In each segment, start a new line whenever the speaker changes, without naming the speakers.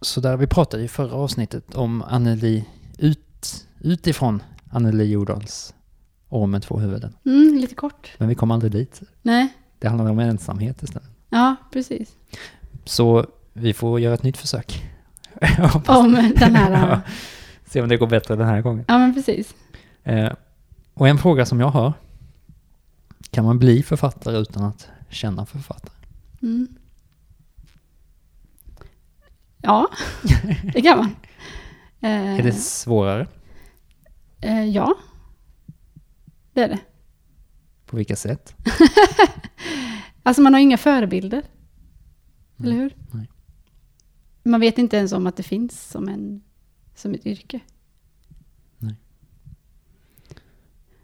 Så där vi pratade i förra avsnittet om Anneli ut, utifrån Anneli Jordals Orm med två huvuden.
Mm, lite kort.
Men vi kom aldrig dit.
Nej,
Det handlade om ensamhet istället.
ja precis.
Så vi får göra ett nytt försök. Hoppas-
Om den här...
Ja.
ja.
Se om det går bättre den här gången.
ja, men precis.
Eh, och en fråga som jag har. Kan man bli författare utan att känna författare?
Mm. Ja, det kan man. Eh,
Är det svårare?
eh, ja, det är det.
På vilka sätt?
Alltså man har inga förebilder. Eller hur?
Nej.
Man vet inte ens om att det finns som, en, som ett yrke.
Nej.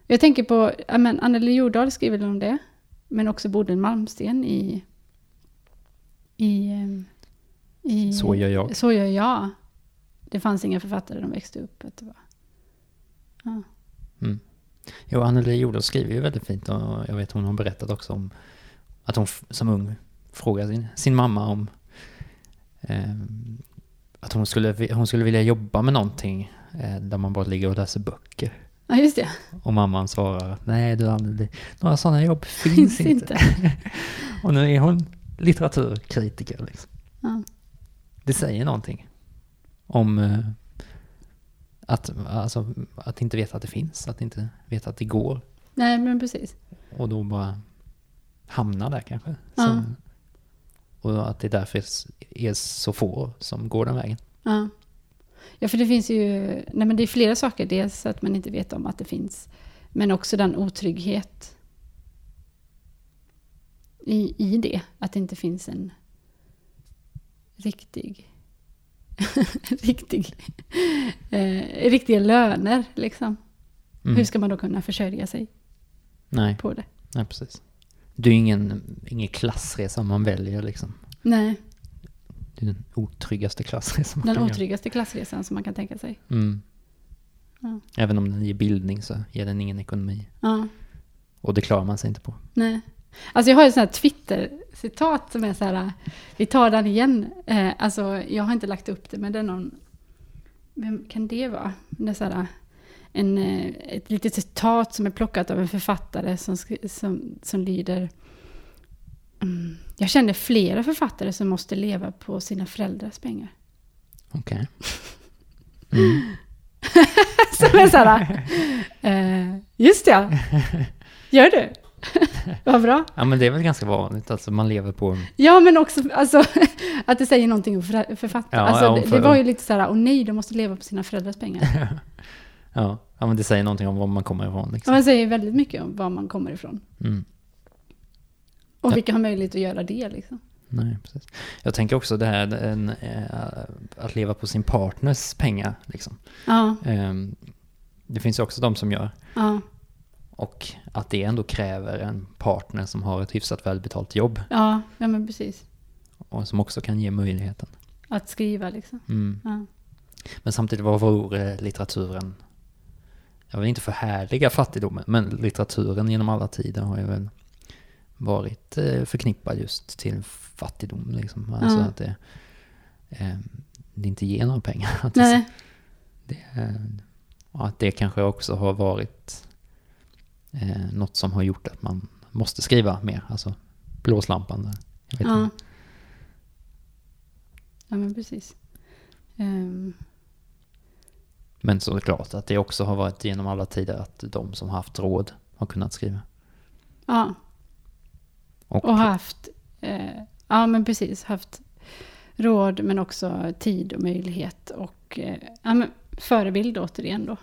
Jag tänker på, ja, men Anneli Jordahl skriver väl om det, men också Bodil Malmsten i... i, ehm, i
Så gör jag.
Så gör jag. Det fanns inga författare de växte upp. Att det var. Ja.
Jo, Anneli Jordahl skriver ju väldigt fint och jag vet hon har berättat också om att hon f- som ung frågade sin, sin mamma om eh, att hon skulle, vi- hon skulle vilja jobba med någonting eh, där man bara ligger och läser böcker.
ja, just det.
Och mamman svarar nej du Anneli, några sådana jobb finns,
Finns
inte.
inte.
Och nu är hon litteraturkritiker. Liksom.
Ja.
Det säger någonting om eh, att, alltså, att inte veta att det finns, att inte veta att det går.
Nej, men precis.
Och då bara hamna där kanske.
Ja.
Sen, och att det därför är s- är så få som går den vägen.
Ja. ja, för det finns ju... Nej, men det är flera saker. Dels att man inte vet om att det finns, men också den otrygghet i, i det. Att det inte finns en riktig... riktig eh, riktiga löner, liksom.
Mm.
Hur ska man då kunna försörja sig
Nej,
på det?
nej, precis. Det är ju ingen, ingen klassresa man väljer liksom.
Nej,
Det är den otryggaste klassresan man
den
kan
otryggaste klassresan som man kan tänka sig.
göra. Mm.
Ja.
Även om den ger bildning så ger den ingen ekonomi.
Ja.
Och det klarar man sig inte på.
Nej. Alltså jag har ju sån här Twitter-citat som är så här, vi tar den igen. Eh, alltså jag har inte lagt upp det, men det är någon, vem kan det vara? Det är så här, en, eh, ett litet citat som är plockat av en författare som, skri- som, som lyder mm, Jag känner flera författare som måste leva på sina föräldrars pengar.
Okej. Mm.
Som är så här, eh, just det, gör du? Vad bra.
Ja men det är väl ganska vanligt, alltså man lever på...
Ja, men också alltså, att det säger någonting om förä- författaren.
Ja,
alltså,
ja, om
det,
för-
det var ju lite så här, åh nej, de måste leva på sina föräldrars pengar.
Ja, ja men det säger någonting om var man kommer ifrån
Och
liksom.
man säger väldigt mycket om var man kommer ifrån.
Mm.
Och
Ja.
vilka har möjlighet att göra det liksom.
Nej, precis. Jag tänker också det här en, eh, att leva på sin partners pengar. Liksom.
Ja,
Eh, Det finns ju också de som gör.
ja,
Och att det ändå kräver en partner som har ett hyfsat välbetalt jobb.
ja, ja men precis.
Och som också kan ge möjligheten.
Att skriva liksom.
Mm.
Ja.
Men samtidigt, vad vore litteraturen? Jag vill inte förhärliga fattigdomen, men litteraturen genom alla tider har ju väl varit eh, förknippad just till fattigdom. Liksom. Alltså
Ja.
att det, eh, det inte ger några pengar. Att det
Nej,
Det, eh, och att det kanske också har varit eh, något som har gjort att man måste skriva mer. Alltså blåslampan. Där. Jag vet
ja.
inte.
Ja, men precis. Ehm,
Men såklart att det också har varit genom alla tider att de som har haft råd har kunnat skriva.
ja,
Och,
och haft, eh, ja men precis, haft råd men också tid och möjlighet och eh, ja, men förebild återigen då.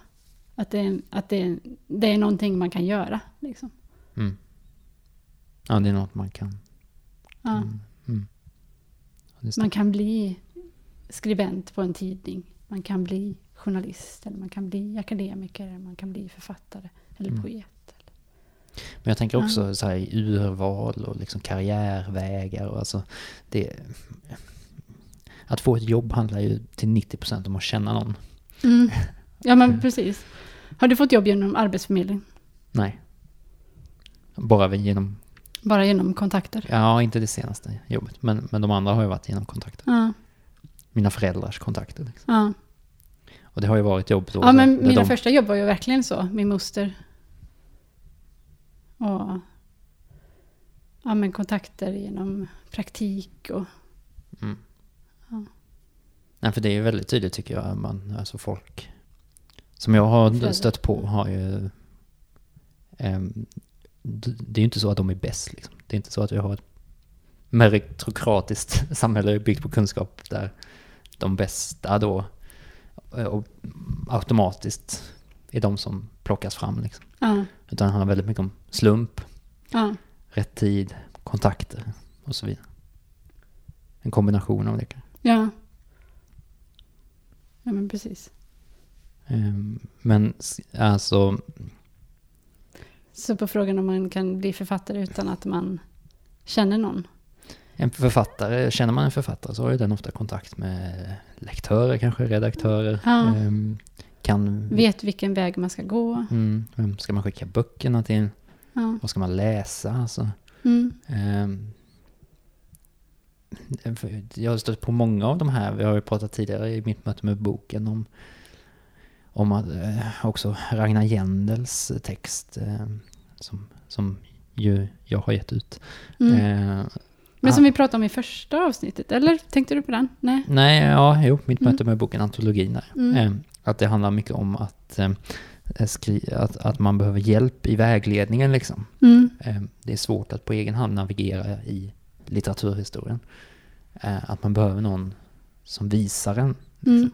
Att, det, är- att det, är- det är någonting man kan göra. Liksom.
mm. Ja, det är något man kan.
Ja,
Mm, Just det.
Man kan bli skribent på en tidning, man kan bli journalist, eller man kan bli akademiker, eller man kan bli författare eller
Mm.
poet. Eller.
Men jag tänker också så här i urval och liksom karriärvägar och alltså det... Att få ett jobb handlar ju till 90% om att känna någon.
Mm. Ja men precis. Har du fått jobb genom arbetsförmedling?
Nej. Bara genom
Bara genom kontakter?
Ja, inte det senaste jobbet. Men, men de andra har ju varit genom kontakter.
Ja.
mina föräldrars kontakter. Liksom.
Ja.
Och det har ju varit jobb då.
Ja, men
där- där
mina
de-
första jobb var ju verkligen så. Min moster. Och ja, men kontakter genom praktik och...
Nej, för det är ju väldigt tydligt tycker jag. Man, alltså folk som jag har
Föräldrar.
stött på har ju... ehm, d- det är ju inte så att de är bäst. Liksom. Det är inte så att vi har ett meritokratiskt samhälle byggt på kunskap där de bästa då eh, och automatiskt är de som plockas fram. Liksom.
Ja,
Utan det handlar väldigt mycket om slump,
ja,
rätt tid, kontakter och så vidare. En kombination av det kanske.
ja. Ja, men precis.
Ehm, Men s- alltså,
Så på frågan om man kan bli författare utan att man känner någon.
Mm. en författare, känner man en författare så har ju den ofta kontakt med lektörer kanske, redaktörer.
Ja.
Ehm, Kan,
Vet vilken väg man ska gå.
Mm, vem ska man skicka böckerna till?
Ja.
Vad ska man läsa? Alltså,
Mm.
ehm, för jag har stött på många av de här, vi har ju pratat tidigare i mitt möte med boken om, om att, eh, också Ragnar Jendels text eh, som, som ju jag har gett ut.
Mm.
Eh,
Men som vi pratade om i första avsnittet, eller tänkte du på den? Nej.
Nej, ja, jo, mitt
Mm.
möte med boken Antologin där.
Mm.
Eh, att det handlar mycket om att, eh, skri- att, att man behöver hjälp i vägledningen liksom.
Mm.
Eh, det är svårt att på egen hand navigera i litteraturhistorien. Eh, att man behöver någon som visar en
Mm.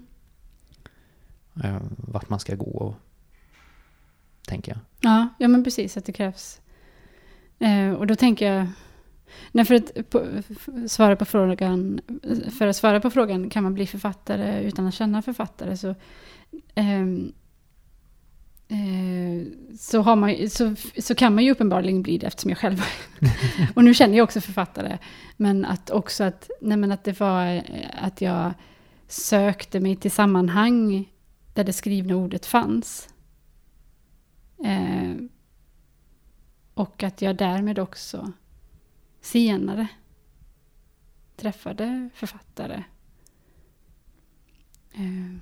eh, vart man ska gå, och, tänker jag.
Ja, ja men precis att det krävs. Eh, och då tänker jag, nej för att på, f- svara på frågan, för att svara på frågan kan man bli författare utan att känna författare så, ehm, eh, så, har man, ju- så, så kan man ju uppenbarligen bli det eftersom jag själv och nu känner jag också författare. Men att också att, nej men att det var eh, att jag sökte mig till sammanhang där det skrivna ordet fanns. Eh, och att jag därmed också senare träffade författare. Eh,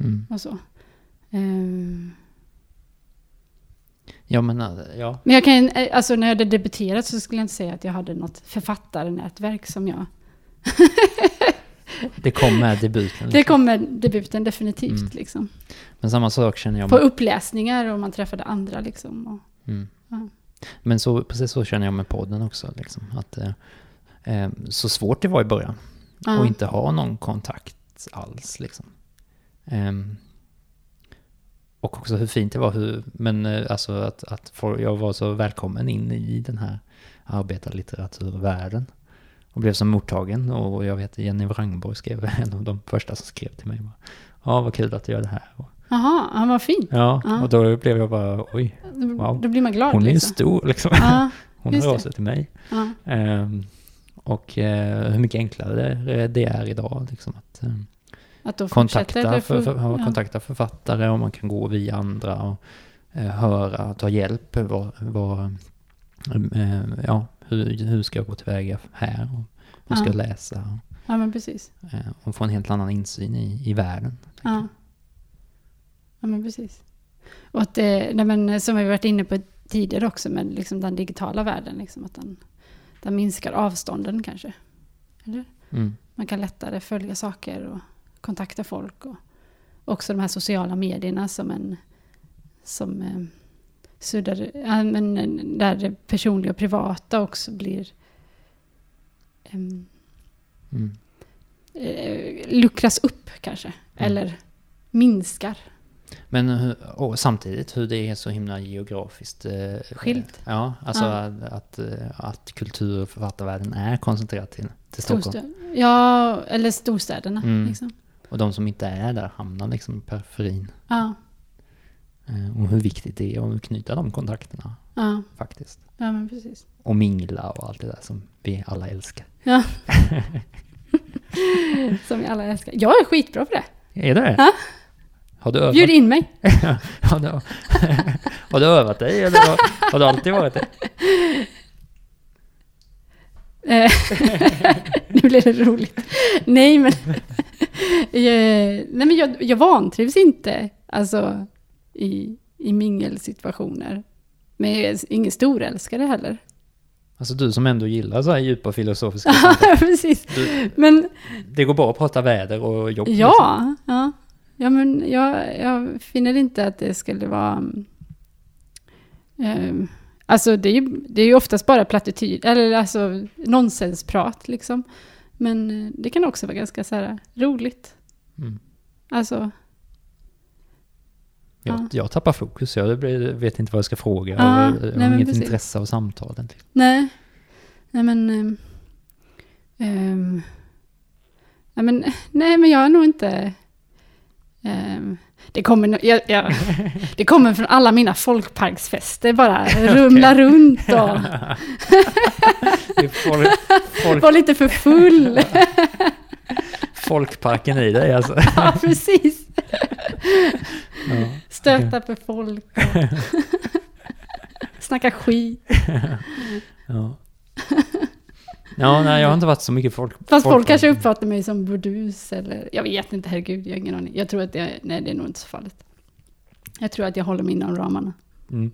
Mm.
och så. Eh,
Ja, men eh, ja.
men jag kan, eh, alltså när jag hade debuterat så skulle jag inte säga att jag hade något författarnätverk som jag.
Mm. Det kom med debuten.
Det
liksom.
kom med debuten definitivt
Mm.
liksom.
Men samma sak känner jag
På
med
uppläsningar och man träffade andra liksom. Och,
Mm.
Ja.
Men så, precis så känner jag med podden också. Liksom, att, eh, eh, så svårt det var i början.
Ja.
Och inte ha någon kontakt alls. Liksom. Ehm, och också hur fint det var. Hur, men eh, alltså att, att få- jag var så välkommen in i den här arbetarlitteraturvärlden. Och blev så mottagen. Och jag vet Jenny Wrangborg skrev, en av de första som skrev till mig. bara, Ja, vad kul att du gör det här. Och,
Jaha, han var fin.
ja,
Ja.
och då blev jag bara, oj,
Då,
Wow.
då blir man glad
hon är ju
liksom.
stor liksom.
Ja,
Hon
Just
hör av
det.
sig till mig.
ja,
Ehm, och eh, hur mycket enklare det- det är idag. Liksom, att, ehm,
att då fortsätter
kontakta,
det
för, för,
ja.
kontakta författare och man kan gå via andra och eh, höra, ta hjälp. Vad, vad, eh, ja, hur, hur ska jag gå tillväga här? Och, vad ska
Ja.
jag läsa?
Ja, men precis.
Och, eh, och få en helt annan insyn i, i världen.
Ja. ja, men precis. Och att det, nej men, som vi varit inne på tidigare också med liksom den digitala världen, liksom, att den, den minskar avstånden kanske.
Mm.
Man kan lättare följa saker och kontakta folk. Och också de här sociala medierna som en... Som eh, suddar, ja, men, eh, där det personliga och privata också blir... ehm,
Mm.
eh, luckras upp kanske. Eller minskar.
Men hur- och samtidigt hur det är så himla geografiskt eh,
Skilt.
Ja, alltså
Ja.
Att, att, eh, att kultur och författarvärlden är koncentrerad till, till Stockholm.
Storstö- ja, eller storstäderna.
Mm.
Liksom.
Och de som inte är där hamnar liksom i periferin.
Ja,
Eh, Och hur viktigt det är att knyta de kontakterna
ja,
faktiskt.
ja, men precis.
Och mingla och allt det där som vi alla älskar.
Ja. Som vi alla älskar. Jag är skitbra på det.
Är det?
Ja.
Har du övat,
Bjud in mig.
har du, har du övat dig eller har, har du alltid varit det?
Eh, nu blev det roligt. Nej, men, eh, nej, men jag, jag vantrivs inte alltså, i, i mingelsituationer. Men jag är ingen storälskare heller.
Alltså du som ändå gillar så här djupa filosofiska
Ja,
samtal.
precis.
Du,
Men
Det går bra att prata väder och jobb. liksom.
ja, ja. ja men jag, jag finner inte att det skulle vara... mm, Eh, alltså det är, ju, det är ju oftast bara plattityd, eller alltså nonsensprat liksom. Men eh, det kan också vara ganska så här roligt.
Mm.
Alltså,
Jag,
Ja.
jag tappar fokus, jag blir- vet inte vad jag ska fråga.
Ja,
och jag
nej,
har
men
inget
precis.
intresse av samtalen. liksom.
nej. Nej men... ehm, ehm, nej men, nej men jag är nog inte... ehm, det kommer, nog- jag, jag, det kommer från alla mina folkparksfester bara rumla runt och
Det är folk, folk,
vara lite för full.
folkparken i dig alltså.
ja, precis.
Ja.
Stöta på folk. och Snacka skit.
Ja. ja, nej jag har inte varit så mycket folk.
Fast folk kanske uppfattar mig som burdus eller... Jag vet inte, herregud, jag har ingen aning. Jag tror att jag... Nej, det är nog inte så farligt. Jag tror att jag håller mig inom ramarna.
Mm.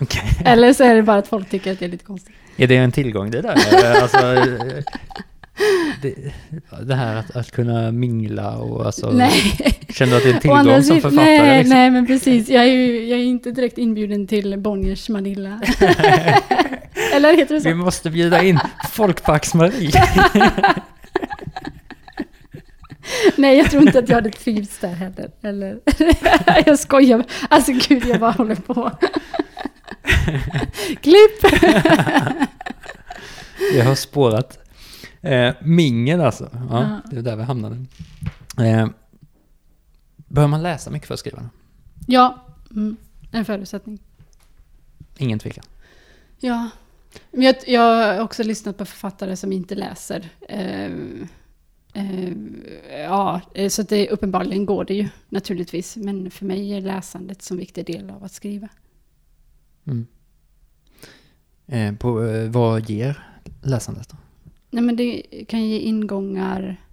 Okej.
Eller så är det bara att folk tycker att jag är lite konstig.
Är det en tillgång det där? Alltså, eh, det, det här att, att kunna mingla och alltså...
nej.
Känner du att det är en
Å andra
tillgång som
sidan-
författare?
Nej,
liksom?
nej, men precis. Jag är ju jag är inte direkt inbjuden till Bonniers Manilla. eller heter det
Vi
så?
måste bjuda in Folkparks-Marie.
Nej, jag tror inte att jag hade trivts där heller. Eller, jag skojar. Alltså gud, jag bara håller på. Klipp!
Jag har spårat. Eh, mingel alltså. Ja,
Ja.
Det är där vi hamnade. Eh, bör man läsa mycket för att skriva?
Ja, mm, en förutsättning.
Ingen tvekan.
Ja. Men jag, jag har också lyssnat på författare som inte läser. Ehm, ehm, ja, eh, så att det, uppenbarligen går det ju naturligtvis. Men för mig är läsandet som viktig del av att skriva.
Mm. Eh, på, eh, vad ger läsandet då?
Nej, men det kan ge ingångar.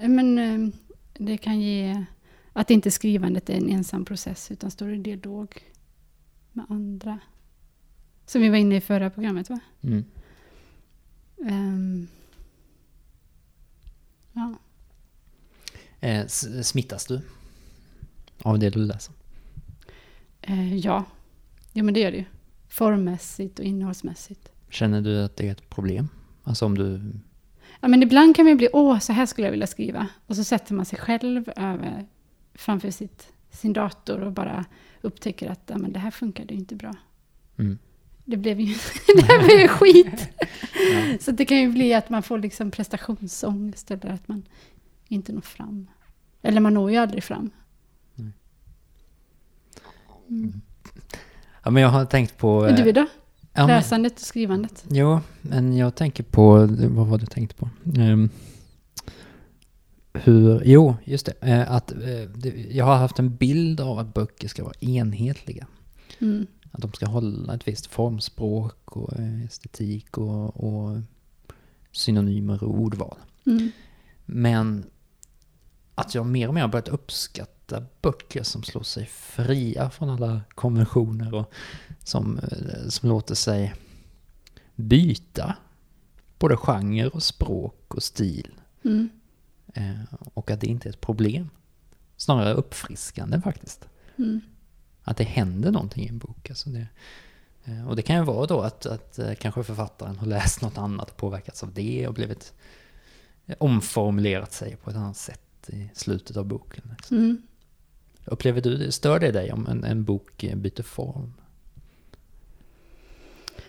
Nej, Men, ehm, det kan ge att inte skrivandet är en ensam process utan står i dialog med andra. Som vi var inne i förra programmet va?
Mm.
Ehm, ja.
Eh, s- smittas du? Av det du läser?
Eh, ja. ja, men det gör det ju. Formmässigt och innehållsmässigt.
Känner du att det är ett problem? Alltså om du...
Ja, men ibland kan man ju bli, åh, så här skulle jag vilja skriva. Och så sätter man sig själv över, framför sitt, sin dator och bara upptäcker att ja, men det här funkade ju inte bra.
Mm.
Det blev ju, det här blev ju skit. Så det kan ju bli att man får liksom prestationsångest eller att man inte når fram. Eller man når ju aldrig fram.
Ja, men jag har tänkt på...
Mm. Men du då?
eh, ja, men-
Läsandet och skrivandet.
Jo, men jag tänker på, vad var det jag tänkte på? Ehm, hur, jo, just det, eh, att eh, det, jag har haft en bild av att böcker ska vara enhetliga.
Mm.
Att de ska hålla ett visst formspråk och eh, estetik och, och synonymer och ordval.
Mm.
Men att jag mer och mer har börjat uppskatta böcker som slår sig fria från alla konventioner och som, eh, som låter sig byta både genre och språk och stil.
Mm.
Eh, Och att det inte är ett problem. Snarare uppfriskande faktiskt.
Mm.
Att det händer någonting i en bok. Alltså det, eh, och det kan ju vara då att, att eh, kanske författaren har läst något annat och påverkats av det och blivit eh, omformulerat sig på ett annat sätt i slutet av boken. liksom.
Mm.
Upplever du det, stör det dig om en, en bok eh, byter form?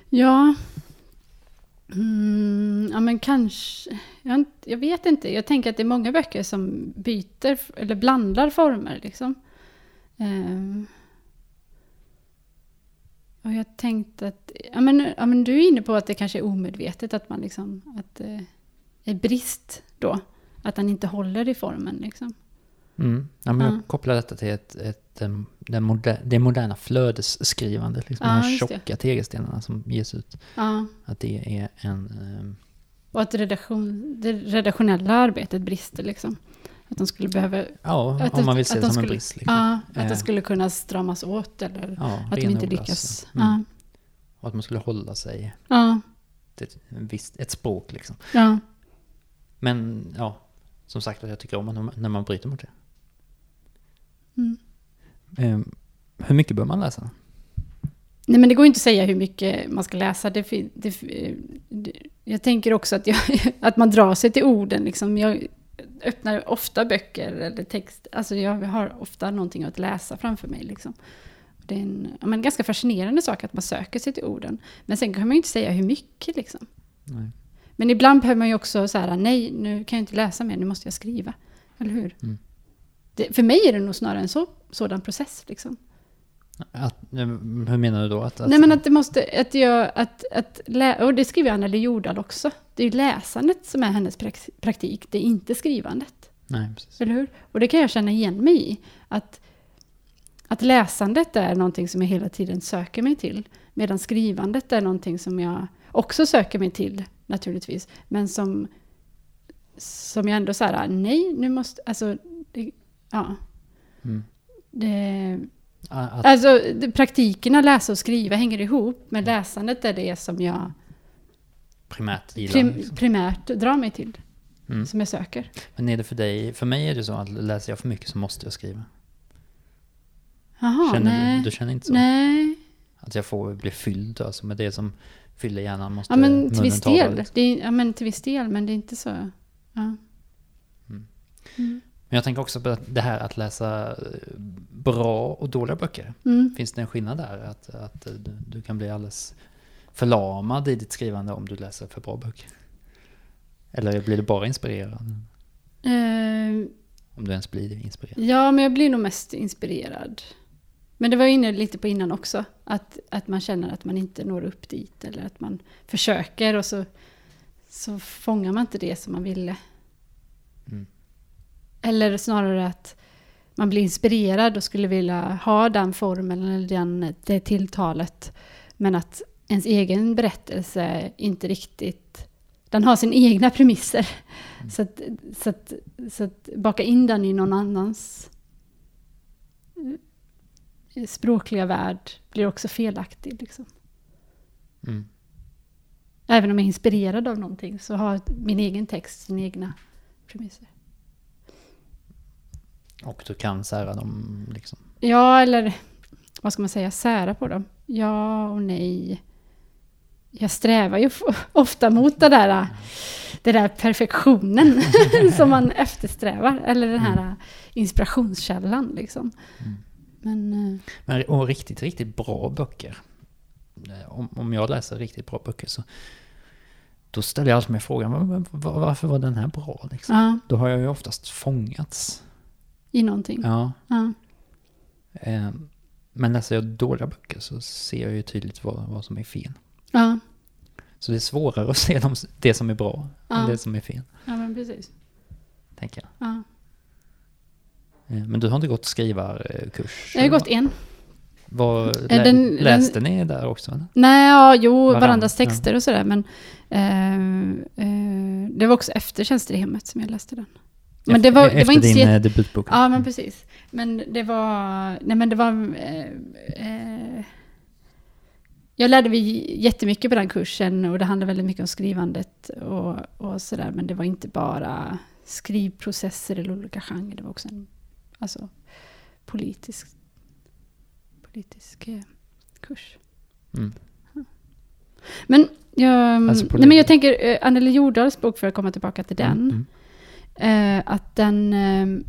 Ja. Mm, ja, men kanske. Jag, har inte- jag vet inte. Jag tänker att det är många böcker som byter eller blandar former. Liksom. Ehm. och jag tänkte att... Ja men, ja, men du är inne på att det kanske är omedvetet att man liksom... Att det är brist då. Att han inte håller i formen liksom.
Mm. Ja, men
Ja.
Jag kopplar detta till ett, ett, em, den moder, det moderna flödesskrivandet, liksom
Ja,
de här
just det.
tjocka tegelstenarna som ges ut.
Ja.
Att det är en... ehm, em,
Och att redaktion, det redaktionella arbetet brister liksom. Att de skulle behöva...
Ja,
Att
om man
de-
vill se
att
det
de
som en
skulle-
brist. Liksom.
Ja, att
Eh.
det skulle kunna stramas åt eller
Ja,
att de inte
renodlas.
lyckas.
Mm.
Ja,
Och att man skulle hålla sig
ja,
till ett, visst, ett språk. Liksom.
ja.
Men ja, som sagt att jag tycker om att- när man bryter mot det.
Mm.
Em, Ehm, hur mycket bör man läsa?
Nej, men det går ju inte att säga hur mycket man ska läsa. Det, fin- det, fin- det, jag tänker också att, jag, att man drar sig till orden. Liksom. Jag öppnar ofta böcker eller text. Alltså jag har ofta någonting att läsa framför mig. Liksom. Det är en ja, men, ganska fascinerande sak att man söker sig till orden. Men sen kan man ju inte säga hur mycket. Liksom.
Nej.
Men ibland behöver man ju också så här, nej, nu kan jag inte läsa mer, nu måste jag skriva. Eller hur?
Mm.
Det, för mig är det nog snarare en så, sådan process. Liksom.
Att, em, hur menar du då? Att, att,
Nej men att det måste, att jag, att, att lä- och det skriver Anneli Jordal också. Det är ju läsandet som är hennes prax- praktik, det är inte skrivandet.
Nej, precis.
Eller hur? Och det kan jag känna igen mig i. Att, att läsandet är någonting som jag hela tiden söker mig till. Medan skrivandet är någonting som jag också söker mig till naturligtvis. Men som, som jag ändå så här, nej nu måste, alltså, det, ja.
Mm.
Det,
A- Att,
Alltså det- praktiken att läsa och skriva hänger ihop, men läsandet är det som jag
primärt gillar.
prim,
liksom.
primärt drar mig till.
Mm.
Som jag söker.
Men är det för dig, för mig är det så att läser jag för mycket så måste jag skriva.
Jaha,
känner
Ah, nej.
du, du känner inte så?
nej.
Att jag får bli fylld alltså med det som fyller hjärnan måste
Ja, men till
munnen
viss
tala,
del.
liksom.
Det är, ja, men till viss del, men det är inte så... Ja.
Men jag tänker också på att det här att läsa eh, bra och dåliga böcker.
Mm.
Finns det en skillnad där? Att, att eh, du, du kan bli alldeles förlamad i ditt skrivande om du läser för bra böcker? Eller blir du bara inspirerad?
Eh,
Om du ens blir inspirerad.
ja, men jag blir nog mest inspirerad. Men det var jag inne lite på innan också. Att, att man känner att man inte når upp dit. Eller att man försöker och så, så fångar man inte det som man ville.
Mm.
Eller snarare att man blir inspirerad och skulle vilja ha den formen eller den, det tilltalet. Men att ens egen berättelse inte riktigt... Den har sina egna premisser. Så, att, så, att, så att baka in den i någon annans eh, språkliga värld blir också felaktig. Liksom.
Mm.
Även om jag är inspirerad av någonting så har min egen text sina egna premisser.
Och du kan sära dem liksom.
Ja, eller vad ska man säga, sära på dem. Ja och nej. Jag strävar ju f- ofta mot det där, det där perfektionen som man eftersträvar. Eller den här inspirationskällan liksom. Men, eh,
Men och riktigt, riktigt bra böcker. Eh, Om, om jag läser riktigt bra böcker så då ställer jag alltid mig frågan "Men- men var- varför var den här bra? Liksom?
ja,
Då har jag ju oftast fångats.
i någonting. Ja.
Ja,
Ja.
eh, men läser jag dåliga böcker så ser jag ju tydligt vad, vad som är fel.
Ja.
Så det är svårare att se de, det som är bra
Ja.
än det som är fel,
men precis.
tänker jag.
Ja.
Eh, Men du har inte gått skrivarkurs?
Jag har ju gått en.
Vad, lä,
Eh, den-
läste ni där också? Eller?
Nej, ja, jo,
Varandra,
varandras
ja.
texter och sådär. Men eh, eh, det var också efter Tjänsterehemmet som jag läste den. Men det var,
efter
det var inte så
din
jätte-
eh, debutbok?
Ja, men precis. Men det var... Nej, men det var... Eh, eh, jag lärde mig jättemycket på den kursen och det handlade väldigt mycket om skrivandet och, och sådär. Men det var inte bara skrivprocesser eller olika genrer. Det var också en alltså, politisk, politisk eh, kurs.
Mm.
Men jag,
Alltså
nej, men
polit-
jag tänker eh, Anneli Jordahls bok, för att komma tillbaka till den.
Mm, mm.
Eh, att den, ehm,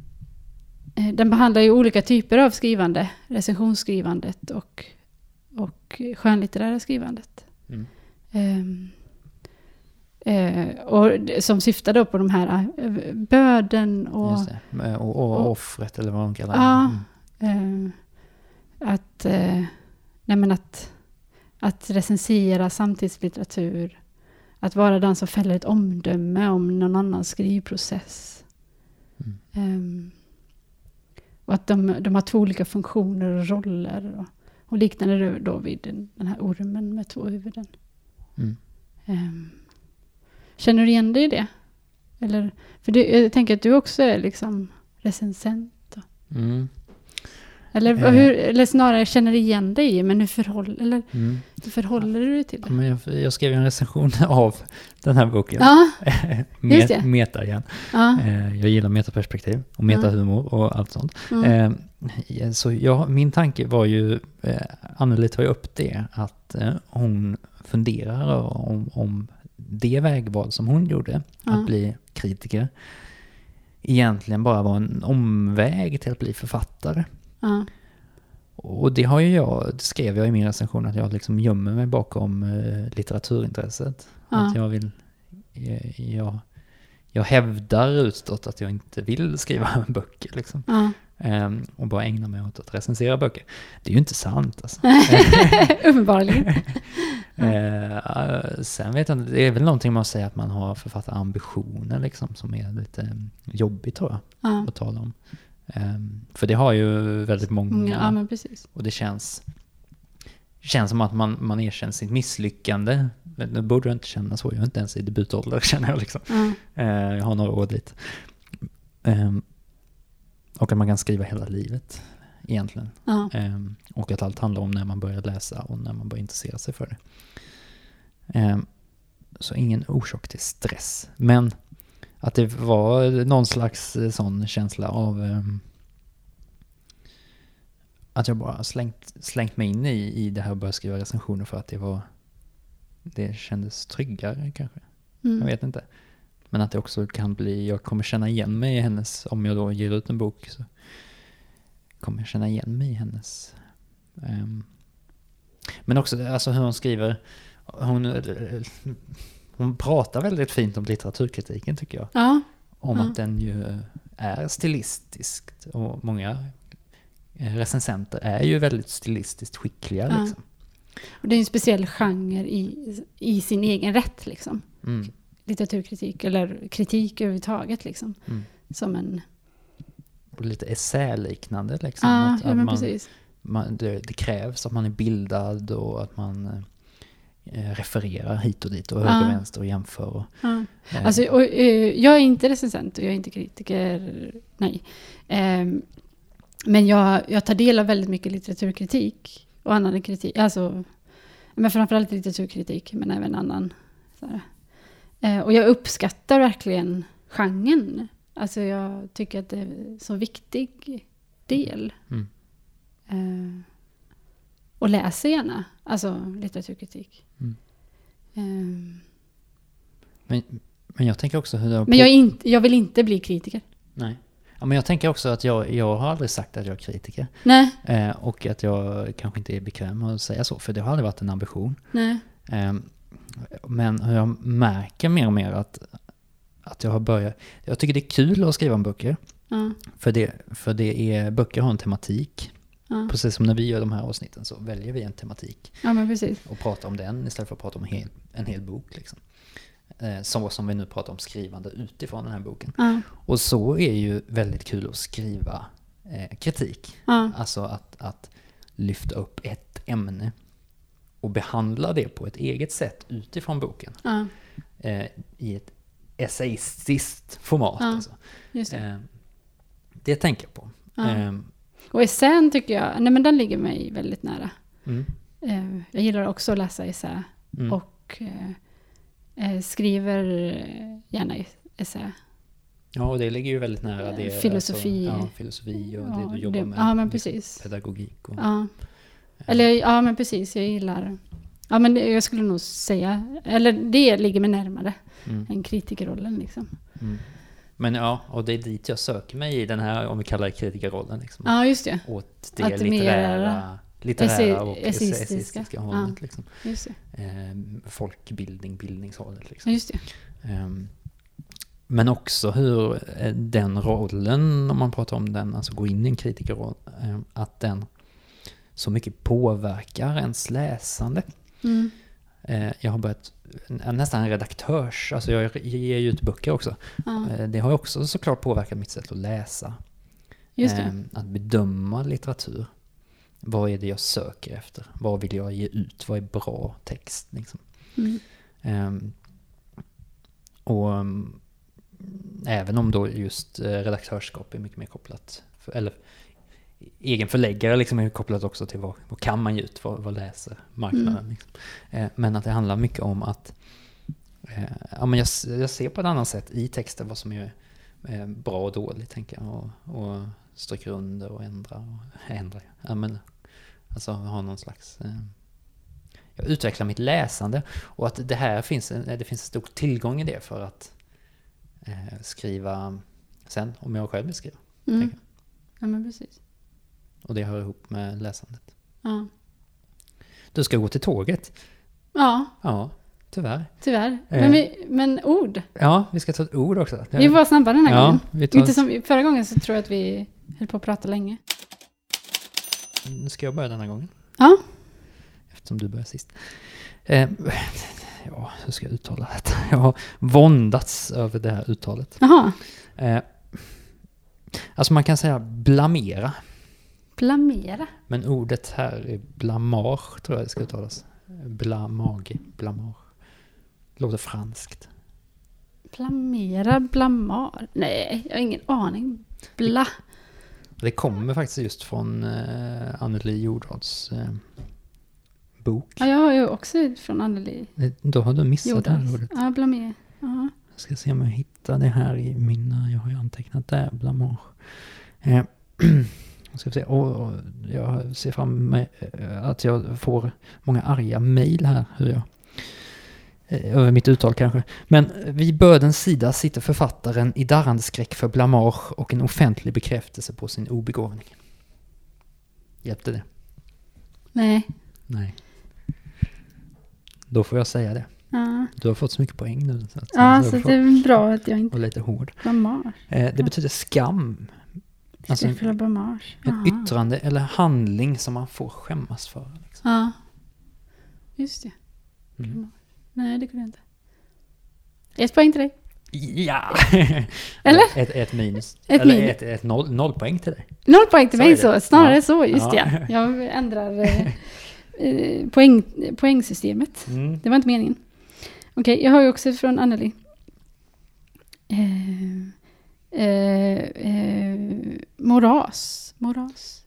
eh, den behandlar ju olika typer av skrivande. Recensionsskrivandet och, och skönlitterära skrivandet.
Mm.
Ehm, eh, och det- som syftar då på de här eh, böden och
Just det. Eh, Och, och,
och-
offret eller vad de kallar
Ja.
det. Mm.
eh, att, eh, nej men att, att recensera samtidslitteratur. Att vara den som fäller ett omdöme om någon annans skrivprocess.
Mm.
Ehm, Och att de, de har två olika funktioner och roller. Och, och liknande då vid den, den här ormen med två huvuden.
Mm.
Ehm, känner du igen dig i det? Eller, för du, jag tänker att du också är liksom recensent. och-
Mm.
Eller,
Eh.
hur, eller snarare känner igen dig i, men hur, förhåll, eller,
Mm.
hur förhåller du dig till
Ja,
det?
men jag, jag skrev ju en recension av den här boken.
Ja,
Met-
just det.
Meta igen.
ja.
Eh, jag gillar metaperspektiv och metahumor och allt sånt.
Mm,
Eh, så jag, min tanke var ju, eh, Anneli tar ju upp det, att eh, hon funderar om, om det vägval som hon gjorde,
Ja.
att bli kritiker, egentligen bara var en omväg till att bli författare.
ja.
Och det har ju jag, det skrev jag i min recension, att jag liksom gömmer mig bakom eh, litteraturintresset.
Ja.
Att jag vill, eh, jag, jag hävdar utåt att jag inte vill skriva böcker liksom.
ja.
Ehm, och bara ägna mig åt att recensera böcker. Det är ju inte sant alltså.
Uppenbarligen.
Eh, sen vet jag inte, det är väl någonting man säger att man har författarambitioner liksom som är lite mm, jobbigt tror jag
Ja.
att tala om. Ehm, för det har ju väldigt många
ja, men precis.
Och det känns, känns som att man, man erkänner sitt misslyckande. Men Nu borde jag inte känna så, jag är inte ens i debutålder känner jag liksom.
Ja.
Eh, jag har några år dit. Ehm, och att man kan skriva hela livet egentligen.
Ja.
Ehm, och att allt handlar om när man börjar läsa och när man börjar intressera sig för det. Ehm, så ingen orsak till stress. Men att det var någon slags eh, sån känsla av ehm, att jag bara slängt, slängt mig in i, i det här och började skriva recensioner för att det var det kändes tryggare kanske. Jag
Mm.
vet inte. Men att det också kan bli, jag kommer känna igen mig i hennes, om jag då ger ut en bok så kommer jag känna igen mig i hennes. ehm. men också alltså hur hon skriver, hon, eh, hon pratar väldigt fint om litteraturkritiken tycker jag.
Ja.
Om
Ja.
att den ju är stilistiskt och många eh, recensenter är ju väldigt stilistiskt skickliga
Ja.
liksom.
Och det är en speciell genre i, i sin egen rätt. Liksom.
Mm.
Litteraturkritik eller kritik överhuvudtaget. Liksom.
Mm.
Som en...
Och lite essäliknande liksom.
Ja,
att,
ja,
att
men
man-
precis.
man, det, det krävs att man är bildad och att man eh, refererar hit och dit och höger och
Ja.
vänster och jämför. Och,
Ja.
eh,
Alltså, och, eh, jag är inte recensent och jag är inte kritiker, nej. Ehm, men jag, jag tar del av väldigt mycket litteraturkritik och annan kritik, alltså, men framförallt litteraturkritik, men även annan. Så här. Eh, och jag uppskattar verkligen genren. Alltså jag tycker att det är en så viktig del.
Mm.
Eh, och läser gärna, alltså litteraturkritik.
Mm.
Ehm,
men, men jag tänker också hur det har
men jag, är inte, jag vill inte bli kritiker.
Nej. Ja, men jag tänker också att jag, jag har aldrig sagt att jag är kritiker.
Nej,
Eh, och att jag kanske inte är bekväm med att säga så, för det har aldrig varit en ambition.
nej.
Eh, men hur jag märker mer och mer att, att jag har börjat... Jag tycker det är kul att skriva om böcker,
Ja,
för, det, för det är, böcker har en tematik.
ja.
Precis som när vi gör de här avsnitten så väljer vi en tematik.
ja men precis.
och prata om den istället för att prata om hel, en hel bok. Liksom. Eh, så som vi nu pratar om skrivande utifrån den här boken.
Ja,
Och så är ju väldigt kul att skriva eh, kritik.
ja,
Alltså att, att lyfta upp ett ämne och behandla det på ett eget sätt utifrån boken.
ja,
Eh, I ett essayistiskt format.
Ja,
alltså.
just det.
eh, det tänker jag på.
Ja.
Eh,
Och essän tycker jag, nej men den ligger mig väldigt nära.
mm,
Eh, Jag gillar också att läsa essä
mm,
och eh, eh, skriver eh, gärna i- essä.
Ja, och det ligger ju väldigt nära det.
Filosofi.
Alltså, ja, filosofi och det du jobbar med.
Ja, men
liksom,
precis.
Pedagogik och...
Ja. Eller ja, men precis, jag gillar... Ja, men det- jag skulle nog säga... Eller det ligger mig närmare
Mm.
än kritikerrollen liksom.
Mm. Men ja, och det är dit jag söker mig i den här, om vi kallar det kritikerrollen. Liksom.
Ja, just det.
Åt det
Att det mer
litterära, litterära och
essi- essistiska.
essistiska
Ja.
hållet. Liksom.
Just det.
Ehm, folkbildning, bildningshållet.
Ja,
Liksom.
just det. Mm.
Ehm, men också hur eh, den rollen, om man pratar om den, alltså gå in i en kritikerroll, ehm, att den så mycket påverkar ens läsande.
Mm.
Eh, Jag har börjat, äh, nästan en redaktörs, alltså jag ger ju ut böcker också.
Ja.
Eh, Det har ju också såklart påverkat mitt sätt att läsa.
Just det.
Ehm, Att bedöma litteratur. Vad är det jag söker efter? Vad vill jag ge ut? Vad är bra text? Liksom?
Mm.
Ehm, och mm, även om då just eh, redaktörskap är mycket mer kopplat, för, eller egen förläggare liksom är kopplat också till vad, vad kan man ge ut, vad, vad läser marknaden. Liksom. Eh, men att det handlar mycket om att eh, ja, men jag, s- jag ser på ett annat sätt i texten vad som är eh, bra och dåligt tänker jag. Och, och stryker under och ändrar. Och, ändrar. Ja, men, alltså ha någon slags... Eh, jag utvecklar mitt läsande och att det här finns en, eh, det finns en stor tillgång i det för att eh, skriva sen, om jag själv vill skriva.
Mm.
tänker
Ja, men precis.
Och det hör ihop med läsandet.
Ja,
Du ska gå till tåget.
ja
Ja, tyvärr.
tyvärr.
Eh.
Men, vi, men ord.
Ja, vi ska ta ett ord också.
Vi var snabba den här
ja,
gången.
vi tar,
Inte som, förra gången så tror jag att vi höll på att prata länge.
Nu ska jag börja denna gången.
Ja.
Eftersom du började sist. Eh, ja, hur ska jag uttala detta? Jag har våndats över det här uttalet.
Jaha.
Eh, alltså man kan säga blamera.
Blamera.
Men ordet här är blamage, tror jag det ska uttalas. Blamage, blamage. Låter franskt.
Blamera, blamar. Nej, jag har ingen aning. Bla.
Det kommer faktiskt just från eh, Anneli Jordards eh, bok.
Ja, jag har ju också ut från Anneli
Eh, Då har du missat det här
Jordans.
ordet.
Ja, blamer. Ja.
Jag ska se om jag hittar det här i mina, jag har ju antecknat där, blamage. Eh, jag ska se, och, och, jag ser fram emot att jag får många arga mejl här, hur jag, eh, över mitt uttal kanske. Men vid bördens sida sitter författaren i darrande skräck för blamage och en offentlig bekräftelse på sin obegåvning. Hjälpte det?
Nej.
Nej. Då får jag säga det.
Ja,
Du har fått så mycket poäng nu. Så att,
ja
så
så
du får
det är bra att jag inte
vara lite hård.
blamar.
Eh, Det betyder skam. Alltså en,
Skräckfulla blamage.
en
Jaha.
yttrande eller handling som man får skämmas för. Liksom.
Ja. Just det.
Mm.
Blamage. Nej, det kunde jag inte. Ett poäng till dig.
Ja!
Eller?
Ett, ett minus.
Ett
eller
minus.
ett, ett noll, noll poäng till dig.
Noll poäng till
Så är
mig
det.
så. Snarare
Ja.
så, just
Ja.
det. Jag ändrar eh, eh, poäng, poängsystemet.
Mm.
Det var inte meningen. Okej, jag har ju också från Anneli. Eh, eh, eh, moras. Moras.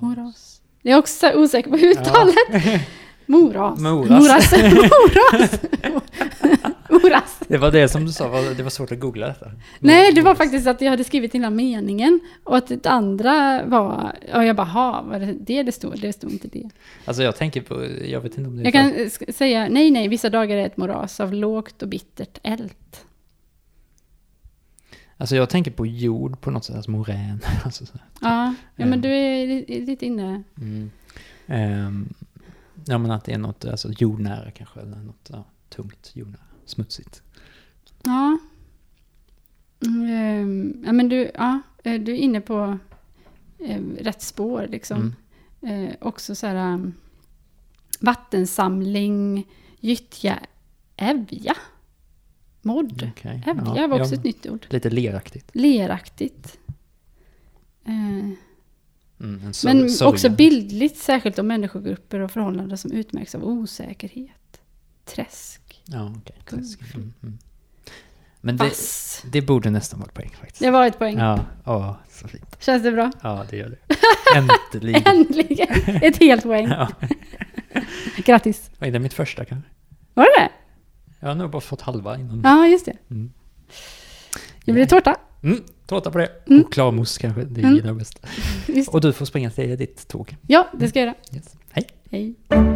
Moras. Jag är också osäker på uttalet. Moras.
Moras.
Moras. Moras. Moras.
Det var det som du sa, var- det var svårt att googla detta.
Nej, det var faktiskt att jag hade skrivit hela meningen och att det andra var... Och jag bara, ha, var det det det stod? Det stod inte det.
Alltså jag tänker på, jag vet inte om det är
Jag kan eh, sk- säga, nej, nej, vissa dagar är ett moras av lågt och bittert eld.
Alltså jag tänker på jord på något sätt, alltså morän. Alltså, så.
Ja, ja
Mm.
men du är li- lite inne.
mm. Ehm, ja men att det är något alltså, jordnära kanske, eller något ja, tungt, jordnära, smutsigt.
Ja. Mm, ehm, ja, men du, ja, eh, du är inne på eh, rätt spår liksom.
Mm.
Eh, också så här um, vattensamling, gyttja, evja. Modd.
Okej.
Evja
Ja,
var
ja,
också ett nytt ord.
Lite leraktigt.
Leraktigt. Eh,
Mm, en sörj-
men
sörja.
också bildligt, särskilt om människogrupper och förhållanden som utmärks av osäkerhet. Träsk.
Ja, okej. Träsk.
Mm.
Mm, mm. Men det,
Vass.
det borde nästan vara ett poäng faktiskt.
Det var ett poäng.
Ja, ja, så fint.
Känns det bra?
Ja, det gör det. Äntligen.
Äntligen! Ett helt poäng.
Ja.
Grattis.
Var det mitt första kanske?
Var det det?
Jag har nog bara fått halva innan.
Ja, just det.
Mm.
Det blir tårta.
Mm, tårta på det.
Mm.
Chokladmousse kanske, det
Mm.
gillar jag bäst.
Just.
Och du får springa till ditt tåg.
Ja, det ska jag göra.
Yes. Hej.
Hej.